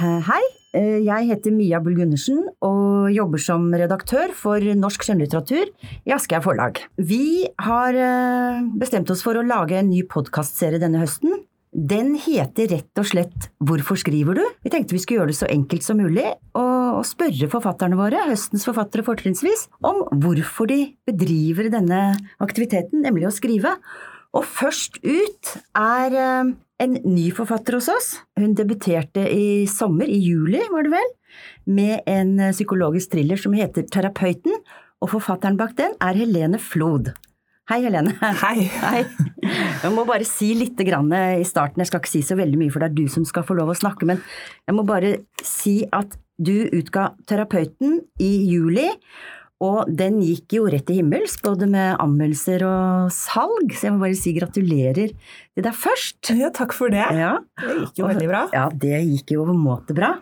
Eh, Hei, jeg heter Mia Bull Gundersen og jobber som redaktør for Norsk skjønnlitteratur i Aschehoug Forlag. Vi har eh, bestemt oss for å lage en ny podkastserie denne høsten. Den heter rett og slett Hvorfor skriver du? Vi tenkte vi skulle gjøre det så enkelt som mulig, og, og spørre forfatterne våre, høstens forfattere fortrinnsvis, om hvorfor de bedriver denne aktiviteten, nemlig å skrive. Og først ut er eh, en ny forfatter hos oss. Hun debuterte i sommer, i juli var det vel, med en eh, psykologisk thriller som heter Terapeuten, og forfatteren bak den er Helene Flod. Hei, Helene. Hei. Hei. Jeg må bare si litt grann eh, i starten, jeg skal ikke si så veldig mye, for det er du som skal få lov å snakke, men jeg må bare si at du utga Terapeuten i juli, og den gikk jo rett til himmels, både med anmeldelser og salg, så jeg må bare si gratulerer til deg først. Ja, takk for det. Ja. Det gikk jo veldig bra. Ja, det gikk jo overmåte bra.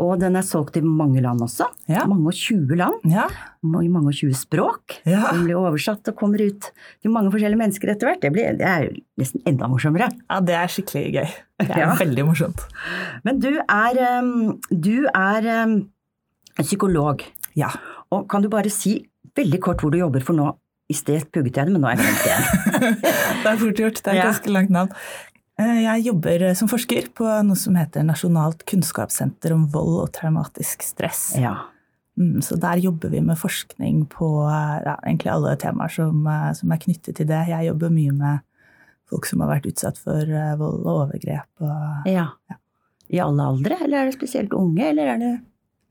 Og den er solgt i mange land også. Ja. Mange og 20 land. Ja. I mange og 20 språk. Ja. Den blir oversatt og kommer ut til mange forskjellige mennesker etter hvert. Det, blir, det er jo nesten enda morsommere. ja, det er skikkelig gøy. Det er Ja. veldig morsomt. Men du er, em, du er em, en psykolog. Ja. Og kan du bare si veldig kort hvor du jobber for nå? I sted pugget jeg det, men nå er jeg glemt igjen. Det er fort gjort. Det er et Ja. ganske langt navn. Eh, Jeg jobber som forsker på noe som heter Nasjonalt kunnskapssenter om vold og traumatisk stress. Ja. Mm, Så der jobber vi med forskning på eh, ja, egentlig alle temaer som, eh, som er knyttet til det. Jeg jobber mye med folk som har vært utsatt for eh, vold og overgrep. Og ja. I alle aldre, eller er det spesielt unge, eller er det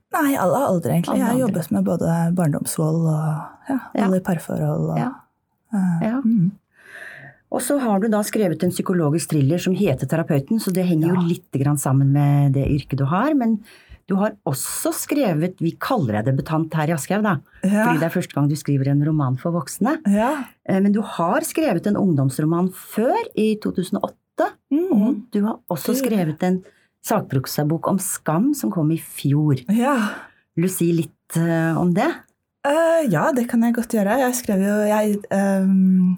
Nei, alle aldre, egentlig. Alle jeg har aldre. jobbet med både barndomsvold og ja, Ja. alle i parforhold. Og, Ja. eh, Ja. mm. Og så har du da skrevet en psykologisk thriller som heter Terapeuten, så det henger Ja. jo litt grann sammen med det yrket du har. Men du har også skrevet Vi kaller deg debutant her i Aschehoug, da. Fordi ja. det er første gang du skriver en roman for voksne. ja. Eh, Men du har skrevet en ungdomsroman før, i 2008. Og Mm. du har også Det gjorde skrevet en sakproksabok om skam som kom i fjor. Mm. ja. Vil du si litt eh, om det? Eh, ja, det kan jeg godt gjøre. Jeg skrev jo, jeg, ehm,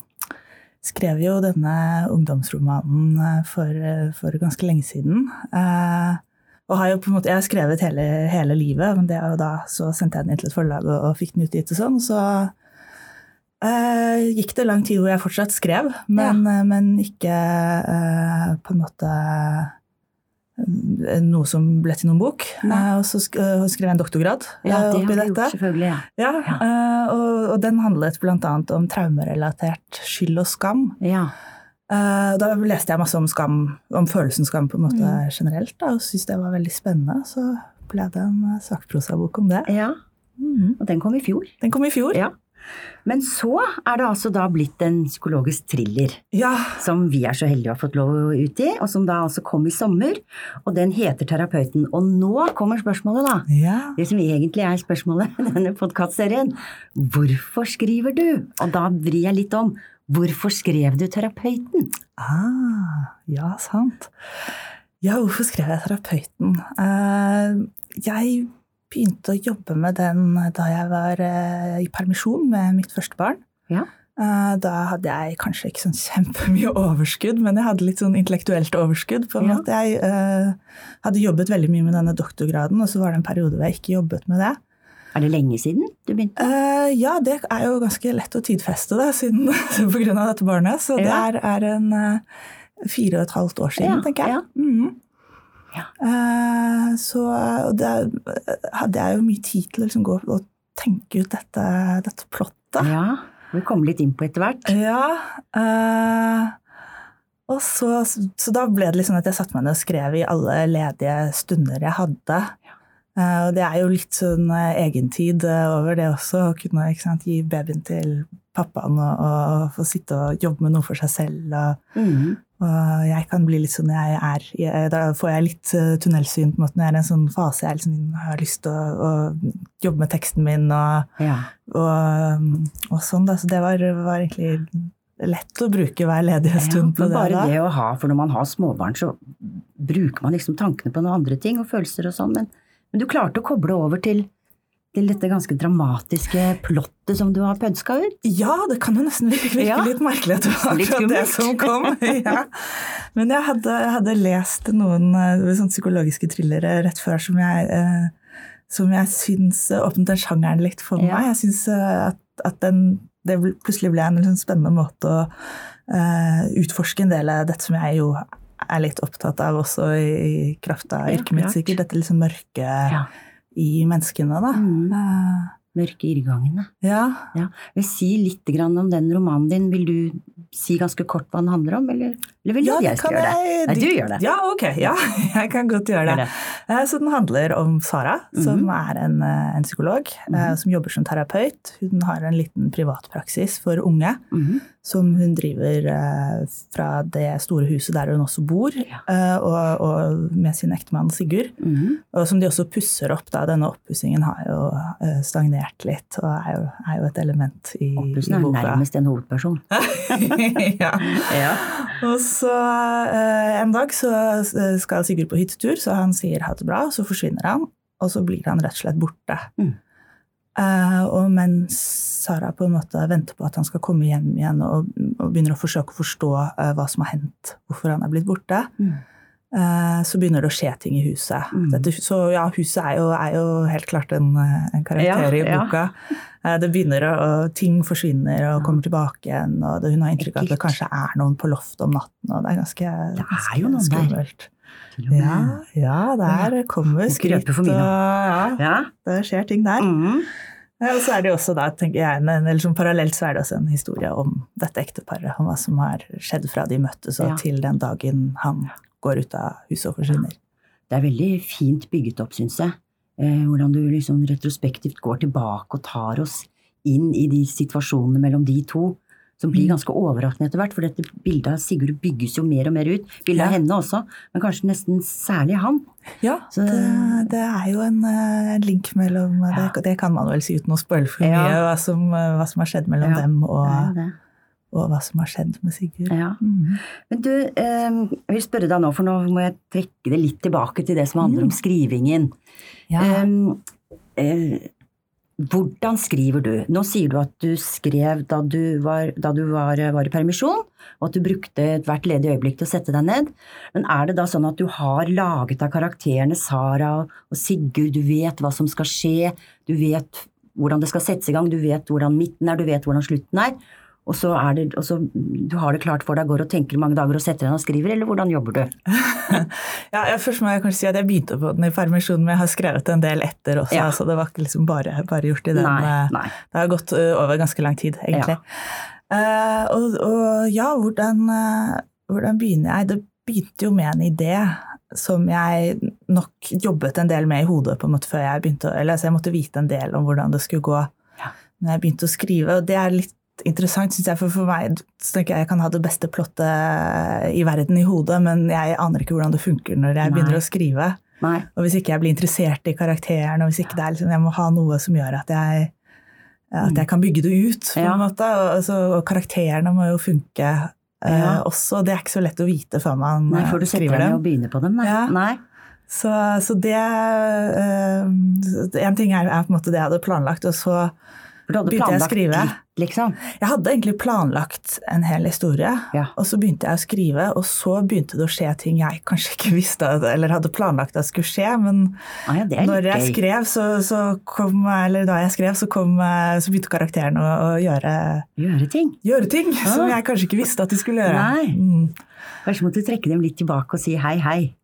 skrev jo denne ungdomsromanen eh, for, eh, for ganske lenge siden. Eh, og har jo på en måte, jeg har skrevet hele, hele livet, men det er jo da, så sendte jeg den inn til et forlag og, og fikk den utgitt og sånn. Så eh, gikk det lang tid hvor jeg fortsatt skrev, men, eh, men ikke eh, på en måte eh, noe som ble til noen bok. Nei. Eh, og så sk eh, skrev jeg en doktorgrad eh, det har oppi du dette. gjort, selvfølgelig. Ja. Ja, eh, og, og den handlet bl.a. om traumerelatert skyld og skam. ja. Eh, da leste jeg masse om skam, om følelsen skam på en måte Mm. generelt, da, og syntes det var veldig spennende. Så ble det en eh, sakprosabok om det. ja. Mhm. Og den kom i fjor. Den kom i fjor. Ja. Men så er det altså da blitt en psykologisk thriller, Ja, som vi er så heldige å ha fått lov å utgi, og som da altså kom i sommer, og den heter Terapeuten. Og nå kommer spørsmålet, da. ja. Det som egentlig er spørsmålet i denne podkastserien. Hvorfor skriver du? Og da vrir jeg litt om. Hvorfor skrev du Terapeuten? Ah, ja, sant. Ja, hvorfor skrev jeg terapeuten? Eh, jeg begynte å jobbe med den da jeg var eh, i permisjon med mitt første barn. Ja. Eh, da hadde jeg kanskje ikke sånn kjempemye overskudd, men jeg hadde litt sånn intellektuelt overskudd. på en Ja. måte. Jeg eh, hadde jobbet veldig mye med denne doktorgraden, og så var det en periode hvor jeg ikke jobbet med det. Er det lenge siden du begynte? Eh, ja, det er jo ganske lett å tidfeste det siden, på grunn av dette barnet. Så det Ja. er, er en eh, fire og et halvt år siden, Ja, tenker jeg. ja. Mhm. Ja. Eh, så og da hadde jeg jo mye tid til å liksom gå og tenke ut dette, dette plottet. Ja. Vi kommer litt inn på etter hvert. Ja. eh, og så, så da ble det litt sånn at jeg satte meg ned og skrev i alle ledige stunder jeg hadde. Eh, og det er jo litt sånn eh, egentid eh, over det også, å kunne ikke sant, gi babyen til pappaen og, og få sitte og jobbe med noe for seg selv. Og, Mhm. og jeg kan bli litt sånn jeg er. i- Da får jeg litt eh, tunnelsyn på en måte når jeg er i en sånn fase jeg er litt sånn, har lyst til å, å jobbe med teksten min. og Ja. og, og sånn da, så det var, var egentlig lett å bruke hver ledige Ja, stund på men det. bare da. det å ha, for når man har småbarn, så bruker man liksom tankene på noen andre ting og følelser og sånn, men, men du klarte å koble over til, til dette ganske dramatiske plottet som du har pønska ut. Ja, det kan jo nesten virke, virke Ja. litt merkelig at det var Litt akkurat det skummelt. som kom. ja. Men jeg hadde, jeg hadde lest noen eh, sånne psykologiske thrillere rett før som jeg, eh, som jeg syns eh, åpnet den sjangeren litt for Ja. meg. Jeg syns eh, at, at den, det bl- plutselig ble en litt sånn spennende måte å eh, utforske en del av dette som jeg jo er litt opptatt av også i, i kraft av Ja, yrket mitt, klart. sikkert. Dette liksom mørke Ja. i menneskene, da. Mm. Eh, Mørke irrgangene. ja. Vil si litt grann om den romanen din. Vil du si ganske kort hva den handler om, eller, eller vil du at jeg skal gjøre det? Nei, du gjør det. Ja, ok. Ja, jeg kan godt gjøre det. Gjør det. Eh, Så den handler om Sara, som er en, eh, en psykolog eh, Mhm. som jobber som terapeut. Hun har en liten privatpraksis for unge Mhm. som hun driver eh, fra det store huset der hun også bor, eh, og, og med sin ektemann Sigurd. Mhm. Og som de også pusser opp, da. Denne oppussingen har jo eh, stagnert litt, og er jo, er jo et element i, Oppussen i er boka. nærmest en hovedperson. ja. Og så eh, en dag så eh, skal Sigurd på hyttetur, så han sier ha det bra, og så forsvinner han. Og så blir han rett og slett borte. Mm. Eh, og mens Sara på en måte venter på at han skal komme hjem igjen og, og begynner å forsøke å forstå eh, hva som har hendt, hvorfor han er blitt borte, Mm. eh, så begynner det å skje ting i huset. Mm. Dette, så ja, huset er jo, er jo helt klart en, eh, en karakter Ja, i ja. boka. Eh, Det begynner å, og Ting forsvinner og kommer tilbake igjen. og det, Hun har inntrykk av at det Ekkelt. kanskje er noen på loftet om natten. og Det er ganske, Det er ganske jo noen der. skummelt. Til og med. Ja, ja, der kommer Må ikke skritt. røpe for mye, og, ja, Ja. det skjer ting der. Mhm. Ja, Og så er det jo også da, tenker jeg, en, en, eller sånn parallelt så er det også en historie om dette ekteparet. Om hva som har skjedd fra de møttes og Ja. til den dagen han går ut av huset og forsvinner. Det er veldig fint bygget opp, syns jeg. Eh, hvordan du liksom retrospektivt går tilbake og tar oss inn i de situasjonene mellom de to. Som blir Mm. ganske overraskende etter hvert, for dette bildet av Sigurd bygges jo mer og mer ut. Bildet av Ja. henne også, men kanskje nesten særlig han. Ja, Så- det, det er jo en, eh, en link mellom eh, det, det kan man vel si uten å spoile for Ja. mye, hva som, eh, hva som har skjedd mellom Ja. dem, og, Det er jo det. og hva som har skjedd med Sigurd. Ja. Mhm. Men du, eh, jeg vil spørre deg nå, for nå må jeg trekke det litt tilbake til det som handler om skrivingen. Eh, Eh, eh, hvordan skriver du? Nå sier du at du skrev da du, var, da du var, var i permisjon, og at du brukte ethvert ledig øyeblikk til å sette deg ned. Men er det da sånn at du har laget av karakterene Sara og- og Sigurd, du vet hva som skal skje, du vet hvordan det skal settes i gang, du vet hvordan midten er, du vet hvordan slutten er. Og så er det, og så, du har det klart for deg, går og tenker mange dager og setter deg ned og skriver, eller hvordan jobber du? ja, ja, først må jeg kanskje si at jeg begynte på den i permisjon, men jeg har skrevet en del etter også, Ja. så det var ikke liksom bare, bare gjort i den eh, Nei, nei. Det har gått ø, over ganske lang tid, egentlig. Eh, og, og ja, hvordan, eh, hvordan begynner jeg? Det begynte jo med en idé som jeg nok jobbet en del med i hodet på en måte før jeg begynte å Eller altså, jeg måtte vite en del om hvordan det skulle gå Ja. når jeg begynte å skrive. Og det er litt interessant, syns jeg, for for meg så tenker jeg jeg kan ha det beste plottet i verden i hodet, men jeg aner ikke hvordan det funker når jeg Nei. begynner å skrive. nei. Og hvis ikke jeg blir interessert i karakteren, og hvis ikke det er liksom, jeg må ha noe som gjør at jeg, at jeg kan bygge det ut, på Ja. en måte. Og, altså, og karakterene må jo funke eh, Ja. også. Det er ikke så lett å vite før man Nei, eh, før du setter deg skriver ned dem. og begynner på dem. Nei. Ja. nei. Så, så det eh, En ting er, er på en måte det jeg hadde planlagt, og så For du hadde Begynte jeg å planlagt skrive? litt, liksom. Jeg hadde egentlig planlagt en hel historie, Ja. og så begynte jeg å skrive, og så begynte det å skje ting jeg kanskje ikke visste at- eller hadde planlagt at skulle skje, men Ah, ja, det er Når jeg litt gøy. skrev, så, så kom Eller da jeg skrev, så, kom, eh, så begynte karakteren å, å gjøre, Gjøre ting. gjøre ting som Ah. jeg kanskje ikke visste at de skulle gjøre. Nei. Mm. Kanskje måtte du trekke dem litt tilbake og si hei, hei.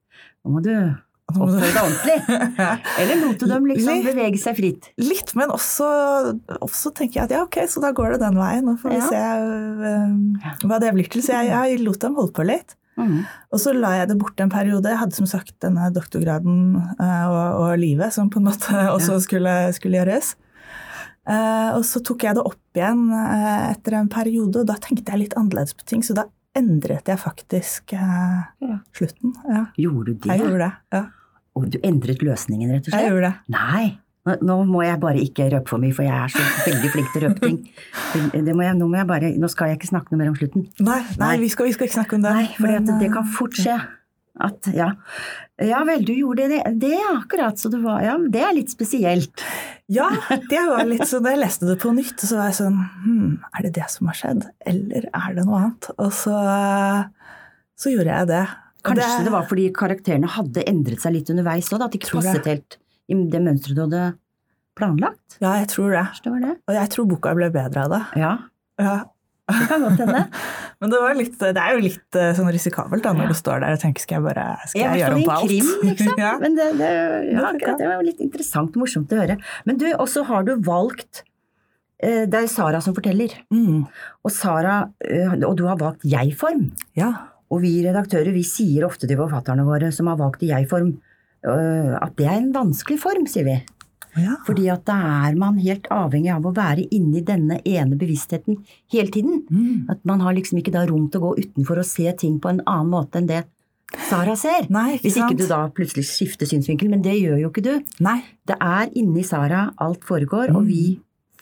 Nå må du Nå må du- oppføre deg ordentlig. Eller lot du dem liksom bevege seg fritt? Litt, men også, også tenker jeg at ja, ok, så da går det den veien. Nå får vi Ja. se eh, hva det blir til. Så jeg, jeg lot dem holde på litt. Mhm. Og så la jeg det bort en periode. Jeg hadde som sagt denne doktorgraden eh, og, og livet som på en måte også skulle, skulle gjøres. Eh, og så tok jeg det opp igjen eh, etter en periode, og da tenkte jeg litt annerledes på ting. Så da endret jeg faktisk eh, Ja. slutten. Ja, Gjorde du jeg det? gjorde det. Ja, Og du endret løsningen, rett og jeg slett? gjorde det. Nei. Nå- Nå må jeg bare ikke røpe for mye, for jeg er så veldig flink til å røpe ting. Det må jeg, nå, må jeg bare, nå skal jeg ikke snakke noe mer om slutten. Nei, nei, Nei. Vi, skal, vi skal ikke snakke om det. Nei, for Men, det eh, kan fort skje. At, ja. ja vel, du gjorde det, det ja, akkurat. Så det, var, ja, det er litt spesielt. Ja, det var litt sånn, da jeg leste det på nytt, så var jeg sånn hmm, Er det det som har skjedd, eller er det noe annet? Og så, så gjorde jeg det. Og Kanskje det, var fordi karakterene hadde endret seg litt underveis òg, at det ikke Tror jeg. passet helt i det mønsteret du hadde planlagt? Ja, jeg tror det. Kanskje det var det? Og jeg tror boka ble bedre av det. Ja, Ja. det kan godt hende. Men det, var litt, det er jo litt eh, sånn risikabelt da, når du står der og tenker skal jeg bare skal Ja, jeg i gjøre om hvert på fall alt. i en Krim, liksom. ja. Men det, det, ja, funka. akkurat, det var jo litt interessant og morsomt å høre. Men du, også har du valgt eh, Det er Sara som forteller. Mm. Og Sara, eh, og du har valgt jeg-form. ja. Og vi redaktører vi sier ofte til forfatterne våre som har valgt i jeg-form, eh, at det er en vanskelig form, sier vi. ja. Fordi at da er man helt avhengig av å være inni denne ene bevisstheten hele tiden. Mm. At man har liksom ikke da rom til å gå utenfor og se ting på en annen måte enn det Sara ser. Nei, ikke Hvis ikke sant? du da plutselig skifter synsvinkel, men det gjør jo ikke du. Nei. Det er inni Sara alt foregår, og vi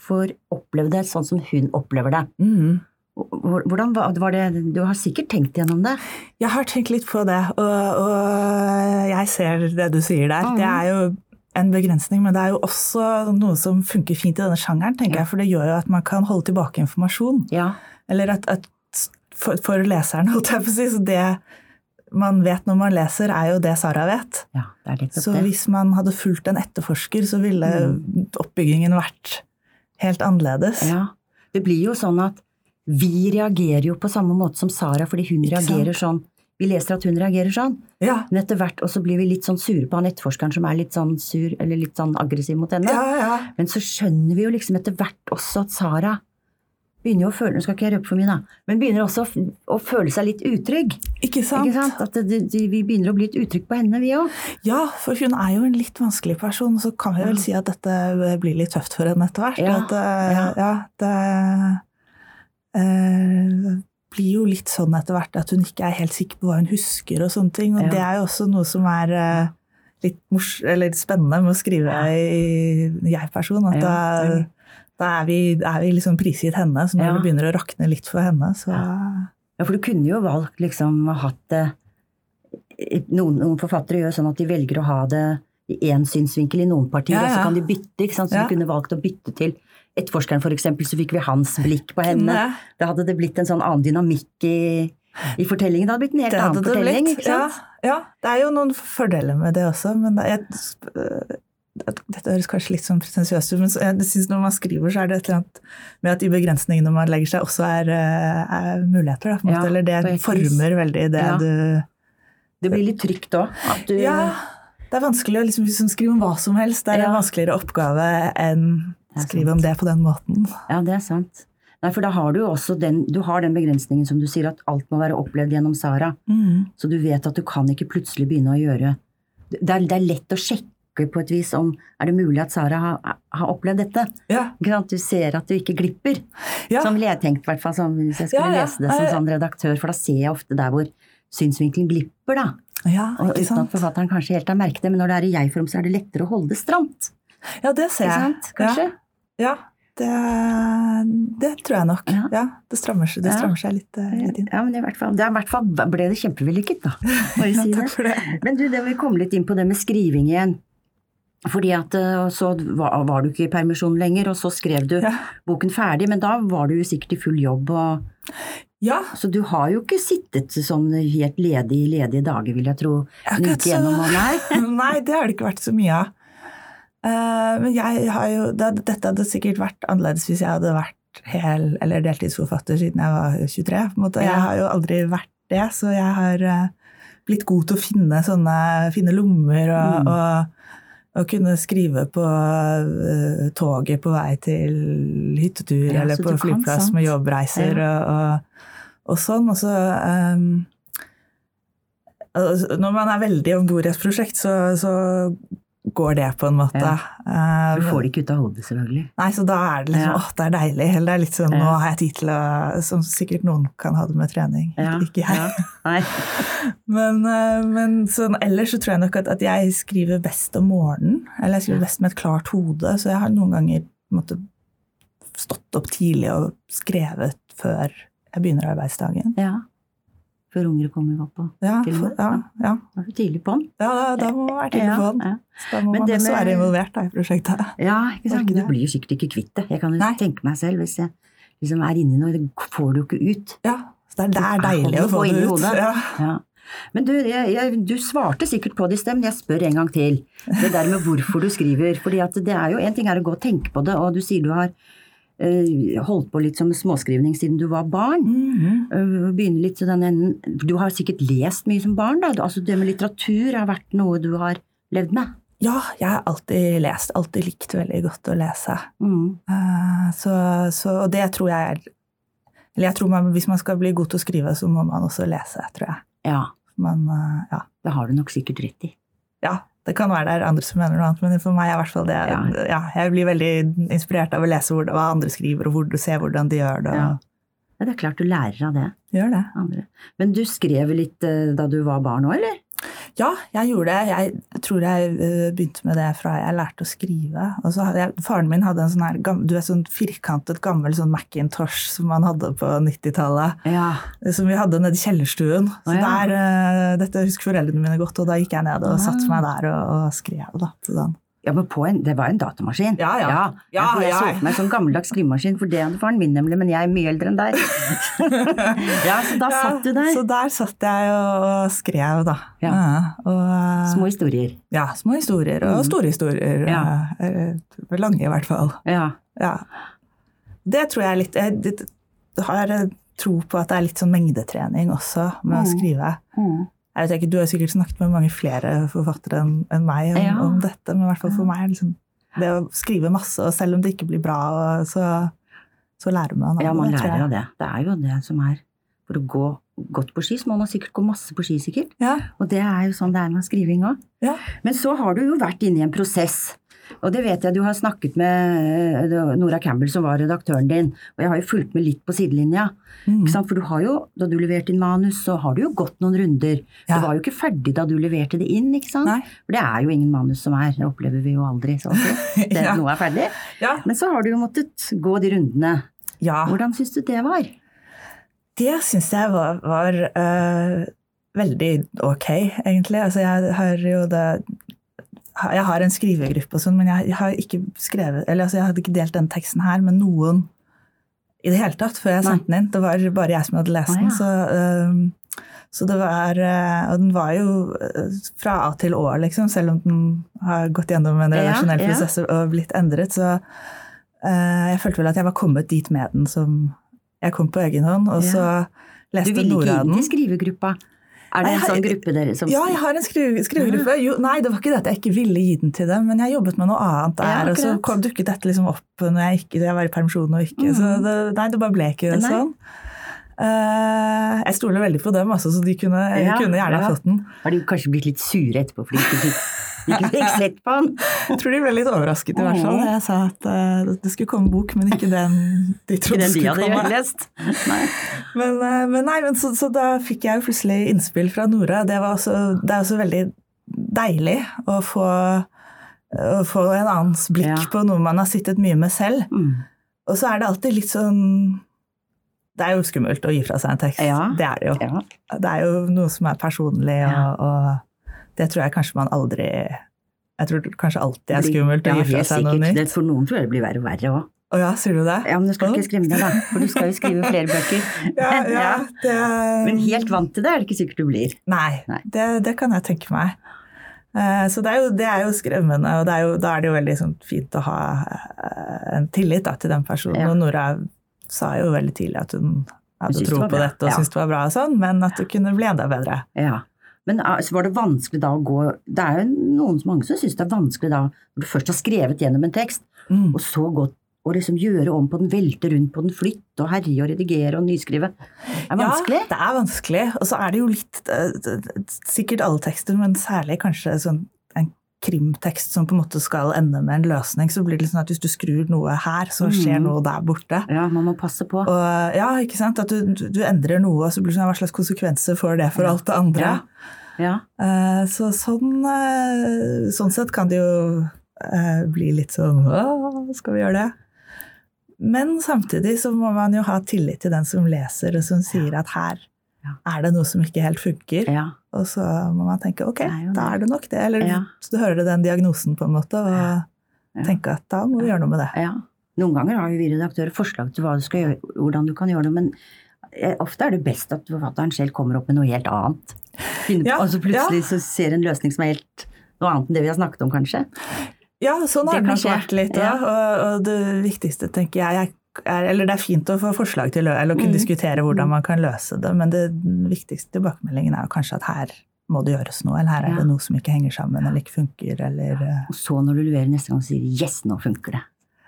får oppleve det sånn som hun opplever det. Mm. Hvordan var var det Du har sikkert tenkt gjennom det? Jeg har tenkt litt på det, og, og jeg ser det du sier der. Mhm. Det er jo en begrensning, men det er jo også noe som funker fint i denne sjangeren, tenker jeg, for det gjør jo at man kan holde tilbake informasjon. Ja. Eller at, at for, for leseren, holdt jeg på å si, så det man vet når man leser, er jo det Sara vet. ja det er nettopp Så det. Mm. hvis man hadde fulgt en etterforsker, så ville oppbyggingen vært helt annerledes. Ja. Det blir jo sånn at vi reagerer jo på samme måte som Sara, fordi hun Ikke sant? reagerer sånn. Vi leser at hun reagerer sånn, Ja, men etter hvert og så blir vi litt sånn sure på han etterforskeren som er litt sånn sur eller litt sånn aggressiv mot henne. ja, ja. Men så skjønner vi jo liksom etter hvert også at Sara begynner jo å føle Nå skal ikke jeg røpe for mye, da. Men begynner også å, f- å føle seg litt utrygg. Ikke sant? Ikke sant? At det, det, vi begynner å bli litt utrygg på henne, vi òg. Ja, for hun er jo en litt vanskelig person, så kan vi vel si at dette blir litt tøft for henne etter hvert. Ja, At, eh, ja. ja, det eh, blir jo litt sånn etter hvert at hun ikke er helt sikker på hva hun husker og sånne ting. Og Ja. det er jo også noe som er eh, litt, mors eller litt spennende med å skrive i jeg-person. At Ja, da, det da er vi, er vi liksom prisgitt henne, så når Ja. det begynner å rakne litt for henne, så Ja, for du kunne jo valgt liksom å hatt det noen, noen forfattere gjør sånn at de velger å ha det i én synsvinkel i noen partier, Ja, og så ja. kan de bytte. ikke sant? Så Ja. du kunne valgt å bytte til etterforskeren, for eksempel, så fikk vi hans blikk på henne. Da hadde det blitt en sånn annen dynamikk i, i fortellingen. Det hadde blitt en helt Det hadde annen det fortelling. blitt. ikke sant? Ja, ja, det er jo noen fordeler med det også, men det, jeg, det- dette høres kanskje litt sånn pretensiøst ut, men så- jeg synes når man skriver, så er det et eller annet med at de begrensningene man legger seg, også er, eh, er muligheter. Da, på en Ja, måte, eller på det et vis. former veldig det Ja. du Det blir litt trygt òg. At du Ja, det er vanskelig å liksom, hvis man skriver om hva som helst. Det er en Ja. vanskeligere oppgave enn Det er skrive om det på den måten. Ja, det er sant. Nei, for da har du jo også den, du har den begrensningen som du sier, at alt må være opplevd gjennom Sara. Så du vet at du kan ikke plutselig begynne å gjøre Det er, det er lett å sjekke på et vis om er det mulig at Sara har, har opplevd dette. Ja, Ikke sant? Du ser at du ikke glipper. ja. Som ville jeg tenkt, i hvert fall som- hvis jeg skulle Ja, ja. lese det som Nei. sånn redaktør, for da ser jeg ofte der hvor synsvinkelen glipper, da. ja Og ikke uten at sant? forfatteren kanskje helt har merket det, men når det er i jeg-form, så er det lettere å holde det stramt. Ja, det ser Ikke jeg. sant? Kanskje? Ja, det, det tror jeg nok. Ja. Ja. det strammer seg, det Ja. strammer seg litt, eh, Ja, litt inn. men i hvert fall, det er, i hvert fall ble det kjempevellykket, da. Bare si det. Takk for det. Men du, det vi komme litt inn på det med skriving igjen. Fordi at eh, så var, var du ikke i permisjon lenger, og så skrev du Ja. boken ferdig, men da var du jo sikkert i full jobb, og, Ja, så du har jo ikke sittet sånn helt ledig i ledige dager, vil jeg tro. jeg har en ikke uke hatt så- gjennom, og nei. Nei, det har det ikke vært så mye av. Eh, men jeg har jo, det, dette hadde sikkert vært annerledes hvis jeg hadde vært hel- eller deltidsforfatter siden jeg var 23. på en måte. Jeg Ja. har jo aldri vært det, så jeg har eh, blitt god til å finne sånne fine lommer og, Mm. og, og kunne skrive på eh, toget på vei til hyttetur Ja, eller så på du kan flyplass sant. med jobbreiser og, og, og sånn. Og så eh, Altså, Når man er veldig om bord i et prosjekt, så, så går det på en måte. Ja. Eh, Du får det ikke ut av hodet, selvfølgelig. Nei, så da er det liksom Ja. åh, det er deilig. Eller det er litt sånn Ja. nå har jeg tid til å Som sikkert noen kan ha det med trening. ikke- Ja, Ikke jeg. ja. Nei. Men, eh, men sånn, ellers så tror jeg nok at, at jeg skriver best om morgenen. Eller jeg skriver best med et klart hode, så jeg har noen ganger måtte, stått opp tidlig og skrevet før jeg begynner arbeidsdagen. Ja. Før unger kommer opp, og Ja, Til og for, med, ja, ja. da er du tidlig på'n. ja da, da må man være tidlig på den. ja. Så da Men må man det også med- være involvert da, i prosjektet. Ja, ikke sant? Ikke Du det? blir jo sikkert ikke kvitt det. Jeg kan jo Nei. tenke meg selv, hvis jeg liksom er inni noe, det får du jo ikke ut. Ja, Det er, det er Jeg deilig å holder få på det inni ut. hodet. Ja. Ja. Men du, jeg, jeg, du svarte sikkert på det i sted, men jeg spør en gang til. Det der med hvorfor du skriver. fordi at det er jo en ting er å gå og tenke på det, og du sier du har eh, holdt på litt som småskrivning siden du var barn. Mhm. Eh, Begynne litt til den enden. Du har sikkert lest mye som barn, da? Altså det med litteratur har vært noe du har levd med? Ja, jeg har alltid lest. Alltid likt veldig godt å lese. Mm. Eh, Så, så og det tror jeg er Eller jeg tror man, hvis man skal bli god til å skrive, så må man også lese, tror jeg. Ja. Man, eh, ja. Det har du nok sikkert rett i. ja. Det kan være det er andre som mener noe annet, men for meg er i hvert fall det ja. Ja. Jeg blir veldig inspirert av å lese hvor, hva andre skriver, og hvor du ser hvordan de gjør det. Ja. og Ja, det er klart du lærer av det. Gjør det. andre. Men du skrev litt eh, da du var barn òg, eller? Ja, jeg gjorde det. Jeg tror jeg eh, begynte med det fra jeg lærte å skrive. Og så hadde jeg, faren min hadde en sånn her, gam- du vet, sånn firkantet, gammel sånn Macintosh som man hadde på 90-tallet. Ja. eh, Som vi hadde nede i kjellerstuen. Så Å, ja. der, eh, dette husker foreldrene mine godt, og da gikk jeg ned og Ah. satte meg der og, og skrev. Da, til den. Ja, men på en, Det var en datamaskin. Ja, ja. Ja, for jeg ja. så for meg en sånn gammeldags skrivemaskin, for det hadde faren min nemlig, men jeg er mye eldre enn deg. ja, Så da Ja, satt du der. Så der satt jeg og, og skrev, da. Ja. og, eh, Små historier. ja, små historier, og Mm. store historier. Ja. eh, eh, Lange, i hvert fall. Ja. Ja. Det tror jeg er litt Jeg det- det har eh, tro på at det er litt sånn mengdetrening også med å Mm. skrive. Mm. Jeg vet ikke, Du har sikkert snakket med mange flere forfattere enn enn meg om, Ja. Mm. om dette, men i hvert fall for Ja. meg er det liksom, det å skrive masse, og selv om det ikke blir bra, og så, så lærer man av ja, man det, tror jeg. lærer av det. Det er jo det som er For å gå godt på ski, så må man sikkert gå masse på ski, sikkert. Ja. Og det er jo sånn det er med skriving òg. Ja. Men så har du jo vært inne i en prosess. Og det vet jeg du har snakket med eh, Nora Campbell, som var redaktøren din. Og jeg har jo fulgt med litt på sidelinja. Mm. Ikke sant? For du har jo, da du leverte inn manus, så har du jo gått noen runder. Ja. Det var jo ikke ferdig da du leverte det inn, ikke sant? Nei. For det er jo ingen manus som er, det opplever vi jo aldri. Så å si. det, Ja. Noe er ferdig. Ja. Men så har du jo måttet gå de rundene. ja. Hvordan syns du det var? Det syns jeg var, var eh, veldig ok, egentlig. Altså, jeg har jo det Jeg har en skrivegruppe og sånn, men jeg har ikke skrevet Eller altså, jeg hadde ikke delt den teksten her med noen i det hele tatt før jeg Nei. sendte den inn. Det var bare jeg som hadde lest Å, den. ja. Så, eh, så det var eh, Og den var jo eh, fra A til Å, liksom, selv om den har gått gjennom en Ja, redaksjonell ja. prosess og blitt endret. Så eh, jeg følte vel at jeg var kommet dit med den som jeg kom på egen hånd. Og Ja. så Du leste ville ikke Nora inn den. til skrivegruppa. Er Nei, det jeg en har- sånn gruppe dere som Ja, jeg har en skri- skrivegruppe. Jo, nei, det var ikke det at jeg ikke ville gi den til dem, men jeg jobbet med noe annet der. Ja, og så akkurat. kom, dukket dette liksom opp når jeg, ikke, jeg var i permisjon og ikke. Så Mhm. det, nei, det bare ble ikke Nei. sånn. Eh, jeg stoler veldig på dem, altså, så de kunne, Ja, kunne gjerne ha ja. fått den. Har de kanskje blitt litt sure etterpå fordi de ikke fikk, de ikke fikk sett på den? Jeg tror de ble litt overrasket i Mhm. hvert fall da jeg sa at eh, det skulle komme bok, men ikke den de Ikke trodde den de skulle komme. hadde lest. Nei. Men, eh, men nei, men så, så da fikk jeg jo plutselig innspill fra Nora. Det, var også, det er også veldig deilig å få, å få en annens blikk Ja. på noe man har sittet mye med selv. Mm. Og så er det alltid litt sånn Det er jo skummelt å gi fra seg en tekst. Ja. Det er det jo. Ja. Det er jo noe som er personlig, Ja. og, og det tror jeg kanskje man aldri Jeg tror kanskje alltid er Blir- skummelt å Ja, gi fra helt seg noe sikkert. nytt. Det, for noen tror jeg det blir verre og verre òg. Å ja, sier du det? Ja, men du skal ikke skremme deg, da. For du skal jo skrive flere bøker. Ja, ja, Ja. det... Men helt vant til det er det ikke sikkert du blir. Nei, Nei. Det, det kan jeg tenke meg. Eh, Så det er jo, det er jo skremmende, og det er jo, da er det jo veldig sånn fint å ha eh, en tillit da, til den personen. Ja. Og Nora sa jo veldig tidlig at hun hadde syntes tro det var på bra, dette og ja. syntes det var bra, og sånn, men at det kunne bli enda bedre. Ja. Men altså, var det vanskelig da å gå Det er jo noen mange som syns det er vanskelig da, når du først har skrevet gjennom en tekst, og så gå og liksom gjøre om på den, velte rundt på den, flytte og herje og redigere og nyskrive. Det er vanskelig. Ja, det er vanskelig. Og så er det jo litt eh, d- d- Sikkert alle tekster, men særlig kanskje sånn en krimtekst som på en måte skal ende med en løsning, så blir det litt sånn at hvis du skrur noe her, så skjer Mhm. noe der borte. Ja, man må passe på. Og, ja, ikke sant? At du, du- du endrer noe, og så blir det sånn, hva slags konsekvenser får det for Ja. alt det andre? Ja. Ja. Eh, så sånn, eh, sånn sett kan det jo eh, bli litt sånn «Åh, Skal vi gjøre det? Men samtidig så må man jo ha tillit til den som leser, og som sier at her Ja. er det noe som ikke helt funker. ja. Og så må man tenke ok, Det er jo da det. er det nok det. Eller Ja. så du hører den diagnosen, på en måte, og Ja. tenke at da må vi gjøre noe med det. Ja. Noen ganger har jo vi redaktører forslag til hva du skal gjøre, hvordan du kan gjøre det, men eh, ofte er det best at forfatteren selv kommer opp med noe helt annet. Finner på, Ja, altså plutselig så ser en løsning som er helt noe annet enn det vi har snakket om, kanskje. Ja, sånn har Det det kan nok skje. vært litt. Ja. Og, og det viktigste, tenker jeg, er Eller det er fint å få forslag til lø- eller å kunne Mm. diskutere hvordan man kan løse det, men det, den viktigste tilbakemeldingen er jo kanskje at her må det gjøres noe, eller her er Ja. det noe som ikke henger sammen eller ikke funker, eller eh, Og så når du leverer neste gang, sier du 'yes, nå funker det'.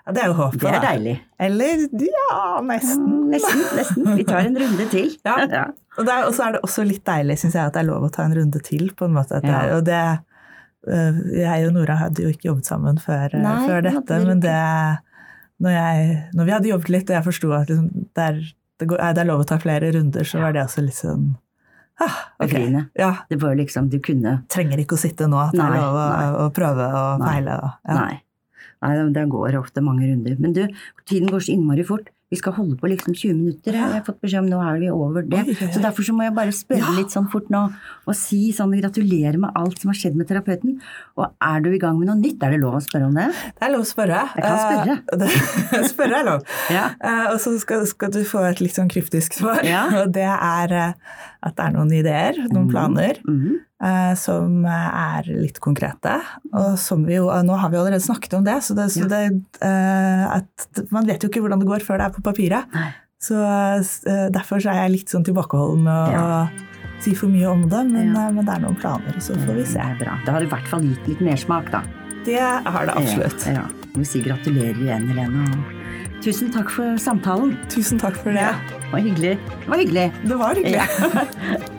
ja, Det er jo håpet, Det er da. deilig. Eller ja, nesten. Mm, Nesten, nesten. Vi tar en runde til. Ja. Ja. Og det er- og så er det også litt deilig, syns jeg, at det er lov å ta en runde til, på en måte. At det Ja. er, og det øh, Jeg og Nora hadde jo ikke jobbet sammen før, øh, Nei, før det hadde dette, dere men det når, jeg, når vi hadde jobbet litt, og jeg forsto at liksom, det, er, det, går, nei, det er lov å ta flere runder, så var det også litt sånn ah, ok. Befriende. Ja, Det var liksom Du kunne trenger ikke å sitte nå, at det Nei, er lov å, nei. å prøve og Nei. feile. Og, ja. Nei. Nei, det- det går ofte mange runder. Men du, tiden går så innmari fort. Vi skal holde på liksom 20 minutter. Jeg har fått beskjed om nå er vi over det. Oi, oi, oi. Så derfor så må jeg bare spørre Ja. litt sånn fort nå og si sånn gratulerer med alt som har skjedd med terapeuten. Og er du i gang med noe nytt? Er det lov å spørre om det? Det er lov å spørre. Jeg kan spørre. spørre er lov. Ja. Eh, og så skal, skal du få et litt sånn kryptisk svar. Ja. Og det er eh, at det er noen ideer, noen Mhm. planer, Mhm. eh, som eh, er litt konkrete. Og som vi jo, eh, nå har vi allerede snakket om det, så, det, Ja. så det, eh, at man vet jo ikke hvordan det går før det er på papiret. Nei. Så eh, derfor så er jeg litt sånn tilbakeholden med å Ja. å si for mye om det, men, Ja. Mhm. eh, men det er noen planer, så får vi Det se. er bra. Det har i hvert fall gitt litt mersmak, da. Det har det absolutt. Ja. ja. Vi sier gratulerer igjen, Helene. og Tusen takk for samtalen. Tusen takk for det. Det var hyggelig. Det var hyggelig. Det var hyggelig. Ja.